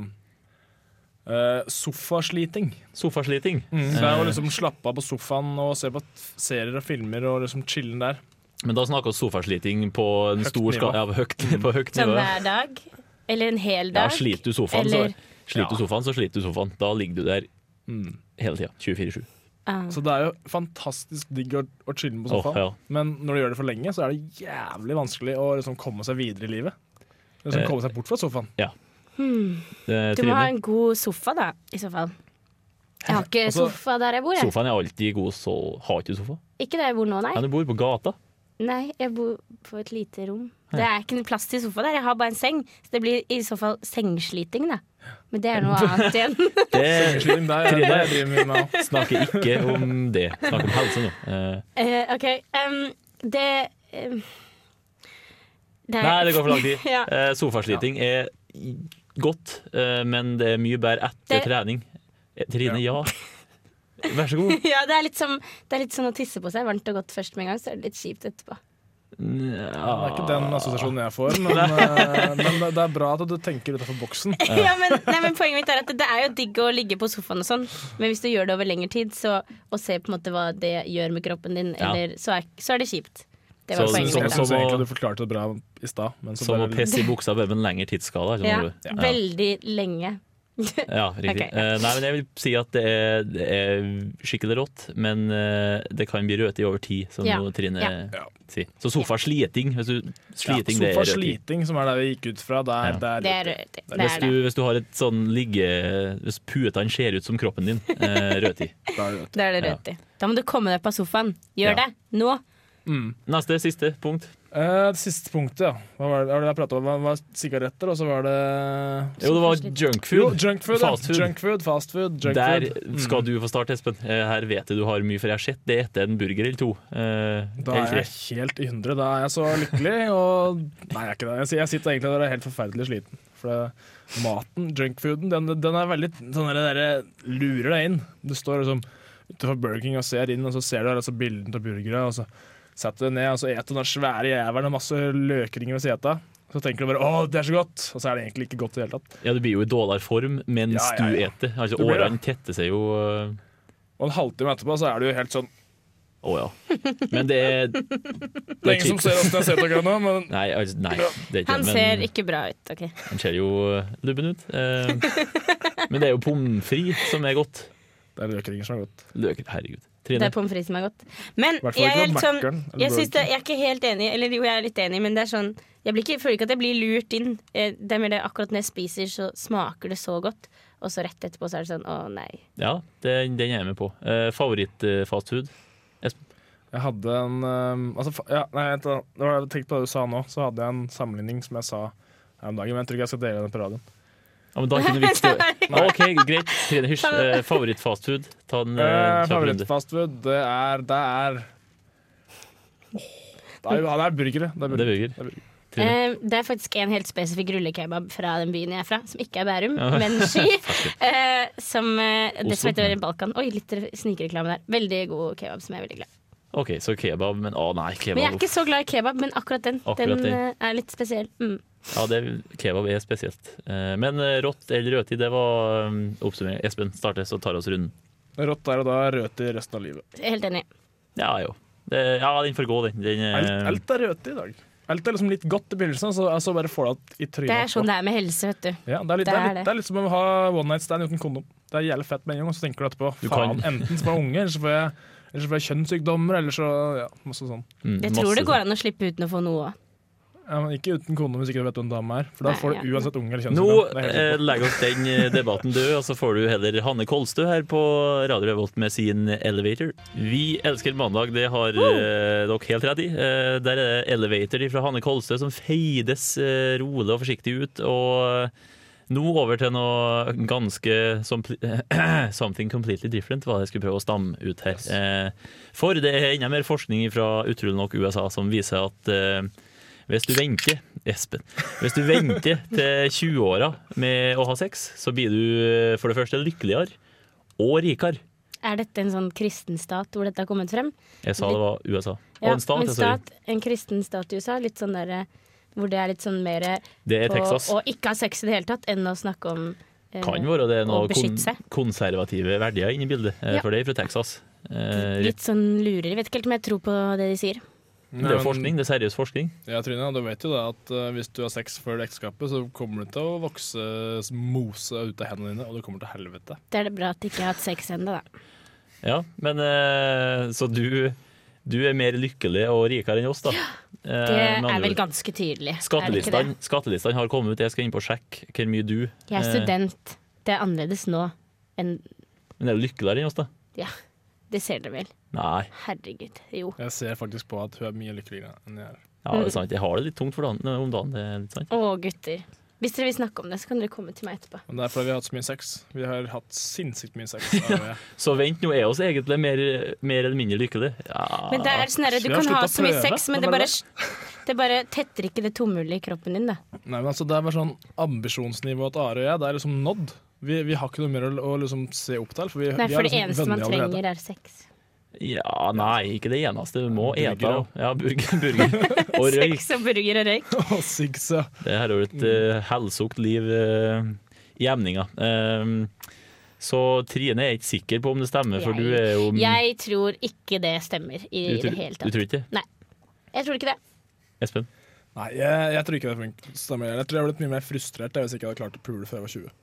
Speaker 5: eh, sofasliting.
Speaker 2: sofasliting.
Speaker 5: Så jeg
Speaker 2: Eh.
Speaker 5: må liksom slappe av på sofaen og se på t- serier og filmer og liksom chillen der.
Speaker 2: Men da snakker vi sofasliting på en
Speaker 5: Høgt
Speaker 2: stor skala. Ja, på høgt, på høgt
Speaker 4: Sånn
Speaker 2: nivå.
Speaker 4: hver dag. Eller en hel
Speaker 2: Ja,
Speaker 4: dag.
Speaker 2: sliter du sofaen,
Speaker 4: Eller-
Speaker 2: så, sliter du sofaen, så sliter du sofaen. Da ligger du der hele tida. 24-7.
Speaker 4: Ah.
Speaker 5: Så det er jo fantastisk digg å, å chille på sofaen.
Speaker 2: Åh, ja.
Speaker 5: Men når du gjør det for lenge, så er det jævlig vanskelig å liksom komme seg videre i livet. Liksom
Speaker 2: Eh.
Speaker 5: komme seg bort fra sofaen.
Speaker 2: Eh,
Speaker 4: Du må
Speaker 2: Trine,
Speaker 4: ha en god sofa, da, i så fall. Jeg har ikke
Speaker 5: Altså,
Speaker 4: sofa der jeg bor. Jeg.
Speaker 2: sofaen er alltid god, så har ikke du sofa.
Speaker 4: Ikke der jeg bor nå, nei.
Speaker 2: Men du bor på gata.
Speaker 4: Nei, jeg bor på et lite rom. Det er ikke noe plass til sofa der. Jeg har bare en seng. Så det blir i så fall sengsliting, da. Men det er noe annet igjen.
Speaker 2: Det
Speaker 5: Slim, det er det jeg driver mye med. også.
Speaker 2: snakker ikke om det. Snakker om helse nå. Eh,
Speaker 4: Eh, OK. em, det em, det er-
Speaker 2: Nei, det går for lang tid.
Speaker 4: *laughs* ja.
Speaker 2: Eh, sofasliting er i- godt, eh, men det er mye bedre etter
Speaker 4: Det-
Speaker 2: trening. Eh, Trine, ja. Vær så god.
Speaker 4: ja, det er, litt som, det er litt sånn å tisse på seg varmt og godt først med en gang, så er det litt kjipt etterpå.
Speaker 5: Det er ikke den assosiasjonen jeg får,
Speaker 2: *laughs*
Speaker 5: men, eh, men det- det er bra at du tenker utafor boksen.
Speaker 4: ja, men, nei, men Poenget mitt er at det, det er jo digg å ligge på sofaen og sånn, men hvis du gjør det over lengre tid så, og ser på en måte hva det gjør med kroppen din,
Speaker 2: Ja.
Speaker 4: eller, så, er, så er det kjipt. Det
Speaker 2: Så-
Speaker 4: var
Speaker 5: Jeg
Speaker 4: poenget
Speaker 2: Som-
Speaker 5: synes
Speaker 4: mitt. da.
Speaker 2: som å-
Speaker 5: egentlig du forklarte det bra i stad. men så
Speaker 2: Som å
Speaker 5: bare-
Speaker 2: pisse i buksa over en lengre tidsskala. ikke
Speaker 4: Ja,
Speaker 2: sant, Oliver?
Speaker 4: veldig lenge.
Speaker 2: Ja, riktig.
Speaker 4: Ok.
Speaker 2: Eh, nei, men jeg vil si at det er, det er skikkelig rått, men eh, det kan bli rødt i over tid, som
Speaker 4: Ja.
Speaker 2: jo Trine
Speaker 4: Ja.
Speaker 2: sier. Så sofasliting, hvis du sliting,
Speaker 5: ja,
Speaker 2: det
Speaker 5: sofa
Speaker 2: er rødt i.
Speaker 5: sliting, som er der vi gikk ut fra. Der,
Speaker 2: Ja.
Speaker 5: der,
Speaker 4: Det er rødt. Det
Speaker 2: Hvis
Speaker 4: er
Speaker 2: du,
Speaker 4: det.
Speaker 2: hvis du har et sånn ligge... Hvis puetene ser ut som kroppen din, eh, rødt
Speaker 4: *laughs*
Speaker 2: i.
Speaker 4: Da er det
Speaker 2: Ja.
Speaker 4: rødt i. Da må du komme deg opp av sofaen.
Speaker 2: Ja.
Speaker 4: Gjør det nå.
Speaker 2: Neste, siste punkt.
Speaker 5: Eh, det siste punktet, ja. Hva var det, hva var det jeg pratet om? Hva var sigaretter, og så var det
Speaker 2: Jo, det var junkfood.
Speaker 5: Jo, junkfood.
Speaker 2: Fast food.
Speaker 5: Fastfood. Junkfood, fastfood,
Speaker 2: Der
Speaker 5: junkfood.
Speaker 2: skal du få starte, Espen. Eh, Her vet jeg du har mye, for jeg har sett det etter en burger eller to. Eh,
Speaker 5: Da
Speaker 2: eller
Speaker 5: er
Speaker 2: tre.
Speaker 5: jeg helt i hundre. Da er jeg så lykkelig, og Nei, jeg er ikke det. Jeg sitter- Jeg sitter egentlig der og er helt forferdelig sliten. For det, maten, junkfooden, den, den er veldig sånn der, der lurer deg inn. Du står liksom utenfor Burger King og ser inn, og så ser du der, altså, bilden av burgere, og så setter du deg ned, og så eter du den svære jævelen og masse løkringer ved seta. Så tenker du bare 'Å, det er så godt', og så er det egentlig ikke godt i det hele tatt.
Speaker 2: Ja, du blir jo i dårligform mens
Speaker 5: Ja, ja, ja.
Speaker 2: du eter. Altså,
Speaker 5: Du blir det.
Speaker 2: årene tetter seg jo eh,
Speaker 5: Og en halvtime etterpå så er du jo helt sånn
Speaker 2: Å ja. Men det er
Speaker 5: Det er ingen som ser åssen jeg ser ut akkurat nå, *laughs* men
Speaker 2: Nei, altså, nei det er ikke
Speaker 4: Han
Speaker 2: det,
Speaker 4: ser
Speaker 2: men
Speaker 4: ikke bra ut. ok.
Speaker 2: han ser jo eh, lubben ut. Eh, men det er jo pommes frites som er godt.
Speaker 5: Det er løkringer som er godt.
Speaker 2: Løk, herregud.
Speaker 4: Det
Speaker 2: Trine,
Speaker 4: er pommes frites som er godt. Men
Speaker 5: I hvert
Speaker 4: jeg
Speaker 5: fall
Speaker 4: er,
Speaker 5: ikke
Speaker 4: helt
Speaker 5: på
Speaker 4: sånn,
Speaker 5: Mac-en.
Speaker 4: jeg, synes det, jeg er ikke helt enig, eller jo, jeg er litt enig, men det er sånn Jeg blir ikke, føler ikke at jeg blir lurt inn. Eh, Det er mer det akkurat når jeg spiser, så smaker det så godt, og så rett etterpå så er det sånn å nei.
Speaker 2: ja, den, den er jeg med på. Eh, Favoritt-fastfood?
Speaker 5: Jeg hadde en um, altså, fa- ja, nei, vent da. Det var det jeg tenkte på det du sa nå, så hadde jeg en sammenligning som jeg sa her om dagen. Men jeg tror ikke jeg skal dele den på radioen.
Speaker 2: Ja, men da er ikke noe vits i
Speaker 4: *laughs*
Speaker 2: det. OK, greit. Trine, hysj. Eh, Favoritt-fastfood? Ta en eh,
Speaker 5: Eh,
Speaker 2: kjapp runde.
Speaker 5: Favorittfastfood, det er Det er det er, jo- ja, det er burgere. Det er
Speaker 2: Det er
Speaker 5: burgere.
Speaker 2: burger. Trine?
Speaker 4: Eh, det er faktisk en helt spesifikk rullekebab fra den byen jeg er fra, som ikke er Bærum,
Speaker 2: Ja.
Speaker 4: men Ski. Eh, som, eh, det
Speaker 2: Oslo.
Speaker 4: som heter Balkan. Oi, litt re- snikreklame der. Veldig god kebab som jeg er veldig glad i.
Speaker 2: OK, så kebab, men å nei, kebab
Speaker 4: Men jeg er ikke så glad i kebab, men akkurat den,
Speaker 2: Akkurat
Speaker 4: den
Speaker 2: den.
Speaker 4: eh, er litt spesiell. Mm.
Speaker 2: Ja, det, kebab er spesielt. Eh, Men eh, rått eller rødtid, det var um, oppsummering. Espen, starte, så tar vi oss runden.
Speaker 5: Rått der og da, rødt i resten av livet.
Speaker 4: Helt enig.
Speaker 2: Ja, jo. Det, ja, den får gå, den. den eh,
Speaker 5: Alt, alt er rødt i dag. Alt er liksom litt godt i begynnelsen, så så bare får du det i trynet.
Speaker 4: Det er sånn
Speaker 5: etterpå.
Speaker 4: det er med helse, vet du.
Speaker 5: Ja, det, er litt,
Speaker 4: Det
Speaker 5: det, er
Speaker 4: er
Speaker 5: litt,
Speaker 4: det.
Speaker 5: det er litt som å ha one night stand uten kondom. Det er jævlig fett med en gang, og så tenker du etterpå
Speaker 2: Du
Speaker 5: faen,
Speaker 2: kan-
Speaker 5: enten så får jeg unge, eller så får jeg, eller så får jeg kjønnssykdommer, eller så ja, masse sånn.
Speaker 2: mm,
Speaker 4: Jeg
Speaker 2: masse
Speaker 4: tror
Speaker 2: sånn.
Speaker 4: det går an å slippe uten å få noe òg.
Speaker 5: Ja, men ikke uten kondom hvis ikke du vet hvem dame er, for da
Speaker 4: Nei,
Speaker 5: får du
Speaker 4: ja.
Speaker 5: uansett unge eller
Speaker 2: Nå
Speaker 5: kjønnssykdom. Det er
Speaker 2: eh,
Speaker 5: helt sikkert.
Speaker 2: legger oss den eh, debatten død, og så får du heller Hanne Kolstø her på Radio Revolt med sin Elevator. Vi elsker mandag, det har eh, dere helt rett i. Eh, der er det Elevator fra Hanne Kolstø som feides eh, rolig og forsiktig ut. Og nå over til noe ganske som, *clears throat* Something completely different, var det jeg skulle prøve å stamme ut her. Eh, for det er enda mer forskning fra utrolig nok USA som viser at eh, hvis du venter Espen. Hvis du venter til 20-åra med å ha sex, så blir du eh, for det første lykkeligere og rikere.
Speaker 4: Er dette en sånn kristen stat hvor dette har kommet frem?
Speaker 2: Jeg sa det var USA.
Speaker 4: Ja,
Speaker 2: og en stat,
Speaker 4: men
Speaker 2: jeg, sorry.
Speaker 4: stat, en kristen stat i USA, litt sånn derre hvor det er litt sånn mer
Speaker 2: Det er
Speaker 4: på
Speaker 2: Texas.
Speaker 4: å eh, ikke ha sex i det hele tatt enn å snakke om eh,
Speaker 2: Kan være det er noen
Speaker 4: å beskytte
Speaker 2: kon
Speaker 4: seg.
Speaker 2: konservative verdier inne i bildet, eh,
Speaker 4: Ja.
Speaker 2: for det er fra Texas. Eh,
Speaker 4: Litt sånn lureri. Vet ikke helt om jeg tror på det de sier.
Speaker 2: Det er jo forskning, det er seriøs forskning.
Speaker 5: Ja, Trine, du vet jo det at eh, hvis du har sex før det ekteskapet, så kommer du til å vokse mose ut av hendene dine, og du kommer til helvete.
Speaker 4: Det er det bra at de ikke har hatt sex ennå, da.
Speaker 2: Ja, men eh, Så du, du er mer lykkelig og rikere enn oss, da. Eh,
Speaker 4: Det
Speaker 2: med andre
Speaker 4: er vel
Speaker 2: ord.
Speaker 4: ganske tydelig. er det ikke det?
Speaker 2: Skattelistene skattelistene har kommet ut, jeg skal inn på og sjekke hvor mye du
Speaker 4: Jeg er
Speaker 2: eh,
Speaker 4: student. Det er annerledes nå enn
Speaker 2: Men er du lykkeligere enn oss, da?
Speaker 4: Ja. Det ser dere vel.
Speaker 2: Nei,
Speaker 4: Herregud. Jo.
Speaker 5: Jeg ser faktisk på at hun er mye lykkeligere enn jeg er.
Speaker 2: ja, det er sant. Jeg har det litt tungt for dagen, eh, om dagen. Det er litt sant.
Speaker 4: Å, gutter. Hvis dere vil snakke om det, så kan dere komme til meg etterpå.
Speaker 5: Men det er fordi vi har hatt så mye sex. Vi har hatt sinnssykt mye
Speaker 2: *laughs*
Speaker 5: sex. har vi.
Speaker 2: Så vent, nå er oss egentlig mer, mer eller mindre lykkelig. Ja.
Speaker 4: Men det er sånn her, du
Speaker 5: Vi har
Speaker 4: kan ha
Speaker 5: sluttet
Speaker 4: så mye
Speaker 5: å prøve.
Speaker 4: sex, men
Speaker 5: Nå
Speaker 4: det
Speaker 5: var
Speaker 4: bare,
Speaker 5: det
Speaker 4: *laughs* det bare tetter ikke det tomhullet i kroppen din, da.
Speaker 5: Nei, men altså, det er bare sånn ambisjonsnivå at Are og jeg, det er liksom nådd. Vi, vi har ikke noe mer å, å liksom se opp til. For vi,
Speaker 4: Nei,
Speaker 5: vi er
Speaker 4: for det
Speaker 5: liksom
Speaker 4: eneste man
Speaker 5: venner allerede.
Speaker 4: trenger, er sex.
Speaker 2: Ja, nei, ikke det eneste. Du må
Speaker 5: Burger,
Speaker 2: ete. og- Ja, burger, *laughs*
Speaker 4: *laughs*
Speaker 2: burger. Og røyk.
Speaker 4: Sex og burger og røyk.
Speaker 5: *laughs* Å, Siggs, ja.
Speaker 2: Det her er jo et uh, helsukt liv eh, i emninga. Ehm, så Trine er ikke sikker på om det stemmer, for
Speaker 4: Jeg-
Speaker 2: du er jo
Speaker 4: Jeg tror ikke det stemmer i
Speaker 2: du,
Speaker 4: det
Speaker 2: tror-
Speaker 4: hele
Speaker 2: Du
Speaker 4: tatt.
Speaker 2: tror ikke det?
Speaker 4: Jeg tror ikke det.
Speaker 2: Espen?
Speaker 5: Nei, jeg, jeg tror ikke det er flink. Stemmer. Jeg tror jeg hadde blitt mye mer frustrert jeg, hvis jeg ikke hadde klart å pule før jeg var 20.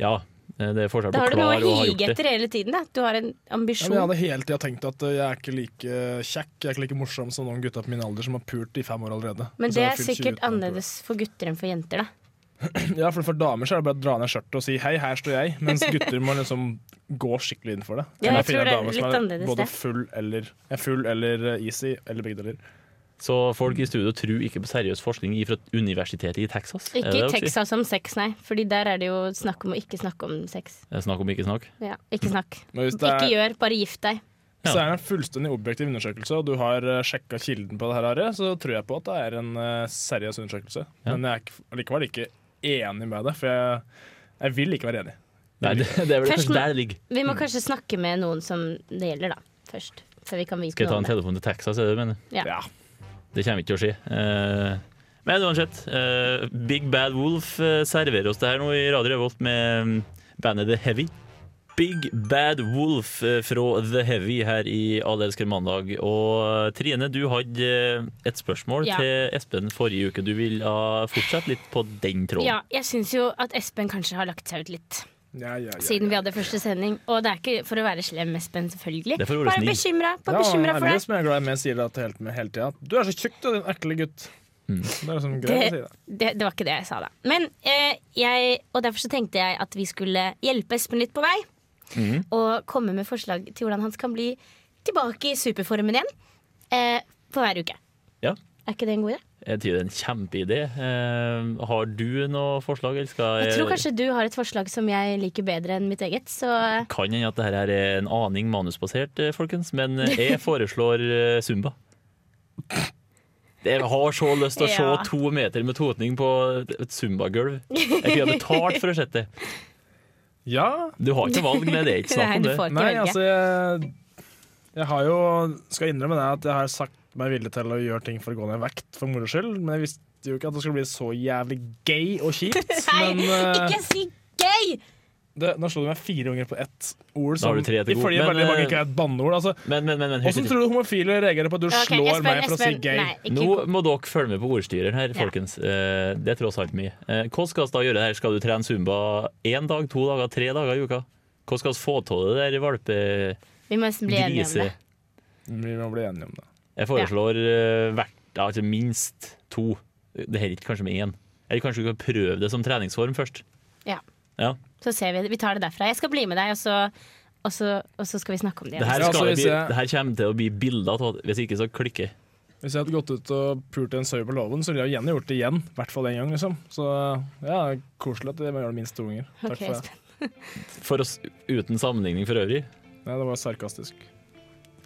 Speaker 2: Ja, eh, det er forskjell
Speaker 4: Da
Speaker 2: på
Speaker 4: har du noe
Speaker 2: klar
Speaker 4: å
Speaker 2: og har
Speaker 4: hige
Speaker 2: gjort det.
Speaker 4: etter hele tiden, da. Du har en
Speaker 5: Ja, men
Speaker 4: ambisjon.
Speaker 5: jeg hadde hele tida tenkt at uh, jeg er ikke like kjekk jeg er ikke like morsom som noen gutter på min alder som har pult i fem år allerede.
Speaker 4: Men
Speaker 5: Så
Speaker 4: det
Speaker 5: jeg har
Speaker 4: er
Speaker 5: fylt 20
Speaker 4: sikkert
Speaker 5: uten å pule.
Speaker 4: annerledes for gutter enn for jenter, da.
Speaker 5: Ja, for, for damer så er det bare å dra ned skjørtet og si 'hei, her står jeg',
Speaker 4: *laughs*
Speaker 5: mens gutter må liksom gå skikkelig inn for det.
Speaker 4: Ja,
Speaker 5: Kan
Speaker 4: jeg
Speaker 5: finne
Speaker 4: tror det er
Speaker 5: en dame
Speaker 4: litt
Speaker 5: som
Speaker 4: annerledes,
Speaker 5: Både
Speaker 4: det.
Speaker 5: full eller, ja, full eller uh, easy, eller begge deler.
Speaker 2: Så folk i studio tror ikke på seriøs forskning fra universitetet i Texas? Er det
Speaker 4: Ikke i
Speaker 2: det dere sier?
Speaker 4: Texas om sex, nei. Fordi der er det jo snakk om å ikke snakke om sex.
Speaker 2: Eh, Snakk om ikke snakk.
Speaker 4: Ja, ikke snakk.
Speaker 5: Men hvis det
Speaker 4: Ikke
Speaker 5: er,
Speaker 4: gjør, bare gift deg.
Speaker 2: Ja.
Speaker 5: hvis det er en fullstendig objektiv undersøkelse, og du har uh, sjekka kilden på det her, Are, så tror jeg på at det er en uh, seriøs undersøkelse.
Speaker 2: Ja.
Speaker 5: Men jeg er ikke- likevel ikke enig med det, for jeg, jeg vil ikke være enig.
Speaker 2: Nei, det, det er vel
Speaker 4: Først
Speaker 2: kanskje
Speaker 4: må-
Speaker 2: der det ligger.
Speaker 4: Vi
Speaker 5: Mm.
Speaker 4: må kanskje snakke med noen som det gjelder, da. Først. Før vi kan vite
Speaker 2: Skal jeg
Speaker 4: noe
Speaker 2: ta en
Speaker 4: om det.
Speaker 2: telefon til Texas, er det du mener?
Speaker 4: Ja.
Speaker 5: Ja.
Speaker 2: Det kommer ikke til å skje. Eh, men uansett, eh, Big Bad Wolf eh, serverer oss det her nå i Radio Revolt med mm, bandet The Heavy. Big Bad Wolf eh, fra The Heavy her i Alle elsker mandag. Og eh, Trine, du hadde eh, et spørsmål
Speaker 4: Ja.
Speaker 2: til Espen forrige uke. Du vil eh, fortsette litt på den tråden.
Speaker 4: Ja, jeg syns jo at Espen kanskje har lagt seg ut litt.
Speaker 5: Ja, ja, ja.
Speaker 4: Siden vi hadde første sending. Og det er ikke for å være slem, Espen, selvfølgelig.
Speaker 2: Det er for å være
Speaker 4: Bare
Speaker 2: snill.
Speaker 4: bekymra
Speaker 5: Ja,
Speaker 4: for
Speaker 5: Emilie,
Speaker 4: deg.
Speaker 5: som jeg er glad i med, sier det at hele, med hele tida. 'Du er så tjukk, du, din ekle gutt'. Det er liksom greit å si det.
Speaker 4: Mm. Det, det var ikke det jeg sa, da. Men eh, jeg, og derfor så tenkte jeg at vi skulle hjelpe Espen litt på vei.
Speaker 5: Mhm.
Speaker 4: Og komme med forslag til hvordan han kan bli tilbake i superformen igjen. Eh, for hver uke.
Speaker 2: Ja.
Speaker 4: Er ikke det en god idé?
Speaker 2: Jeg tror det er en kjempeidé. Eh, har du noe forslag? Eller skal
Speaker 4: Jeg tror kanskje du har et forslag som jeg liker bedre enn mitt eget. Så
Speaker 2: Kan hende at dette her er en aning manusbasert, eh, folkens, men eh, jeg foreslår eh, Zumba. Jeg har så lyst til å se
Speaker 4: Ja.
Speaker 2: to meter med totning på et Zumba-gulv. Jeg kunne ha betalt for å se det.
Speaker 5: Ja,
Speaker 2: Du har ikke valg, det, det er ikke snakk
Speaker 4: Nei,
Speaker 2: om
Speaker 4: du
Speaker 2: det.
Speaker 4: får ikke
Speaker 5: nei,
Speaker 4: velge.
Speaker 5: altså jeg, jeg har jo Skal innrømme det at jeg har sagt meg villig til å gjøre ting for å gå ned i vekt for moro skyld, men jeg visste jo ikke at det skulle bli så jævlig gay og kjipt.
Speaker 4: *laughs* Nei,
Speaker 5: men eh,
Speaker 4: ikke si gøy!
Speaker 5: det, nå slo du meg fire ganger på ett ord
Speaker 2: Da har
Speaker 5: som
Speaker 2: du tre til god,
Speaker 5: ifølge
Speaker 2: men,
Speaker 5: veldig mange
Speaker 2: eh,
Speaker 5: ikke er et banneord. Altså.
Speaker 2: Men, men, men, men
Speaker 5: Åssen
Speaker 2: hør
Speaker 5: tror du homofile reagerer på at du
Speaker 4: Ok,
Speaker 5: slår
Speaker 4: Espen,
Speaker 5: meg for å si
Speaker 4: Espen,
Speaker 5: gay?
Speaker 4: Nei, ikke
Speaker 2: nå må dere følge med på ordstyreren her, folkens. Eh, Det er tross alt mye. Eh, Hva skal vi da gjøre her? Skal du trene zumba én dag, to dager, tre dager i uka? Hva skal vi få til det der valpegrise...
Speaker 4: Vi må nesten bli enige om det.
Speaker 5: Mm, Vi må bli enige om det.
Speaker 2: Jeg foreslår eh, hvert, ja, altså minst to. Det holder ikke kanskje med én. Eller kanskje du kan prøve det som treningsform først.
Speaker 4: Ja.
Speaker 2: Ja.
Speaker 4: Så ser vi det. Vi tar det derfra. Jeg skal bli med deg, og så, og så, og så skal vi snakke om det.
Speaker 2: Det her,
Speaker 5: Ja,
Speaker 2: skal
Speaker 5: altså,
Speaker 2: det
Speaker 5: hvis
Speaker 2: bli,
Speaker 5: jeg-
Speaker 2: det her kommer til å bli bilder av Hvis ikke, så klikker jeg.
Speaker 5: Hvis jeg hadde gått ut og pult en sau på låven, så ville jeg jo gjerne gjort det igjen. I hvert fall en gang, liksom. Så ja, det er koselig at jeg må gjøre det minst to ganger. Takk
Speaker 4: Ok,
Speaker 5: for det.
Speaker 4: Espen.
Speaker 2: For oss uten sammenligning for øvrig.
Speaker 5: Nei, det var sarkastisk.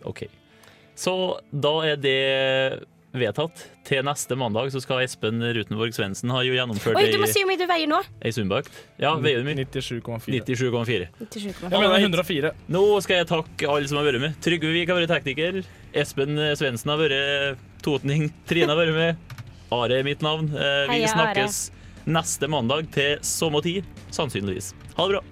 Speaker 2: OK. Så da er det vedtatt. Til neste mandag så skal Espen Rutenborg Svendsen ha jo gjennomført
Speaker 4: Oi,
Speaker 2: ei
Speaker 4: du må si hvor mye du veier nå!
Speaker 2: ei zumbaøkt. Ja, veier du mye?
Speaker 5: 97,4.
Speaker 2: 97,4.
Speaker 5: Jeg mener 104.
Speaker 2: Nå skal jeg takke alle som har vært med. Trygve Vik har vært tekniker. Espen Svendsen har vært totning. Trine har vært med. Are er mitt navn. Eh, Vi
Speaker 4: Heia, Are.
Speaker 2: snakkes neste mandag til samme tid, sannsynligvis. Ha det bra.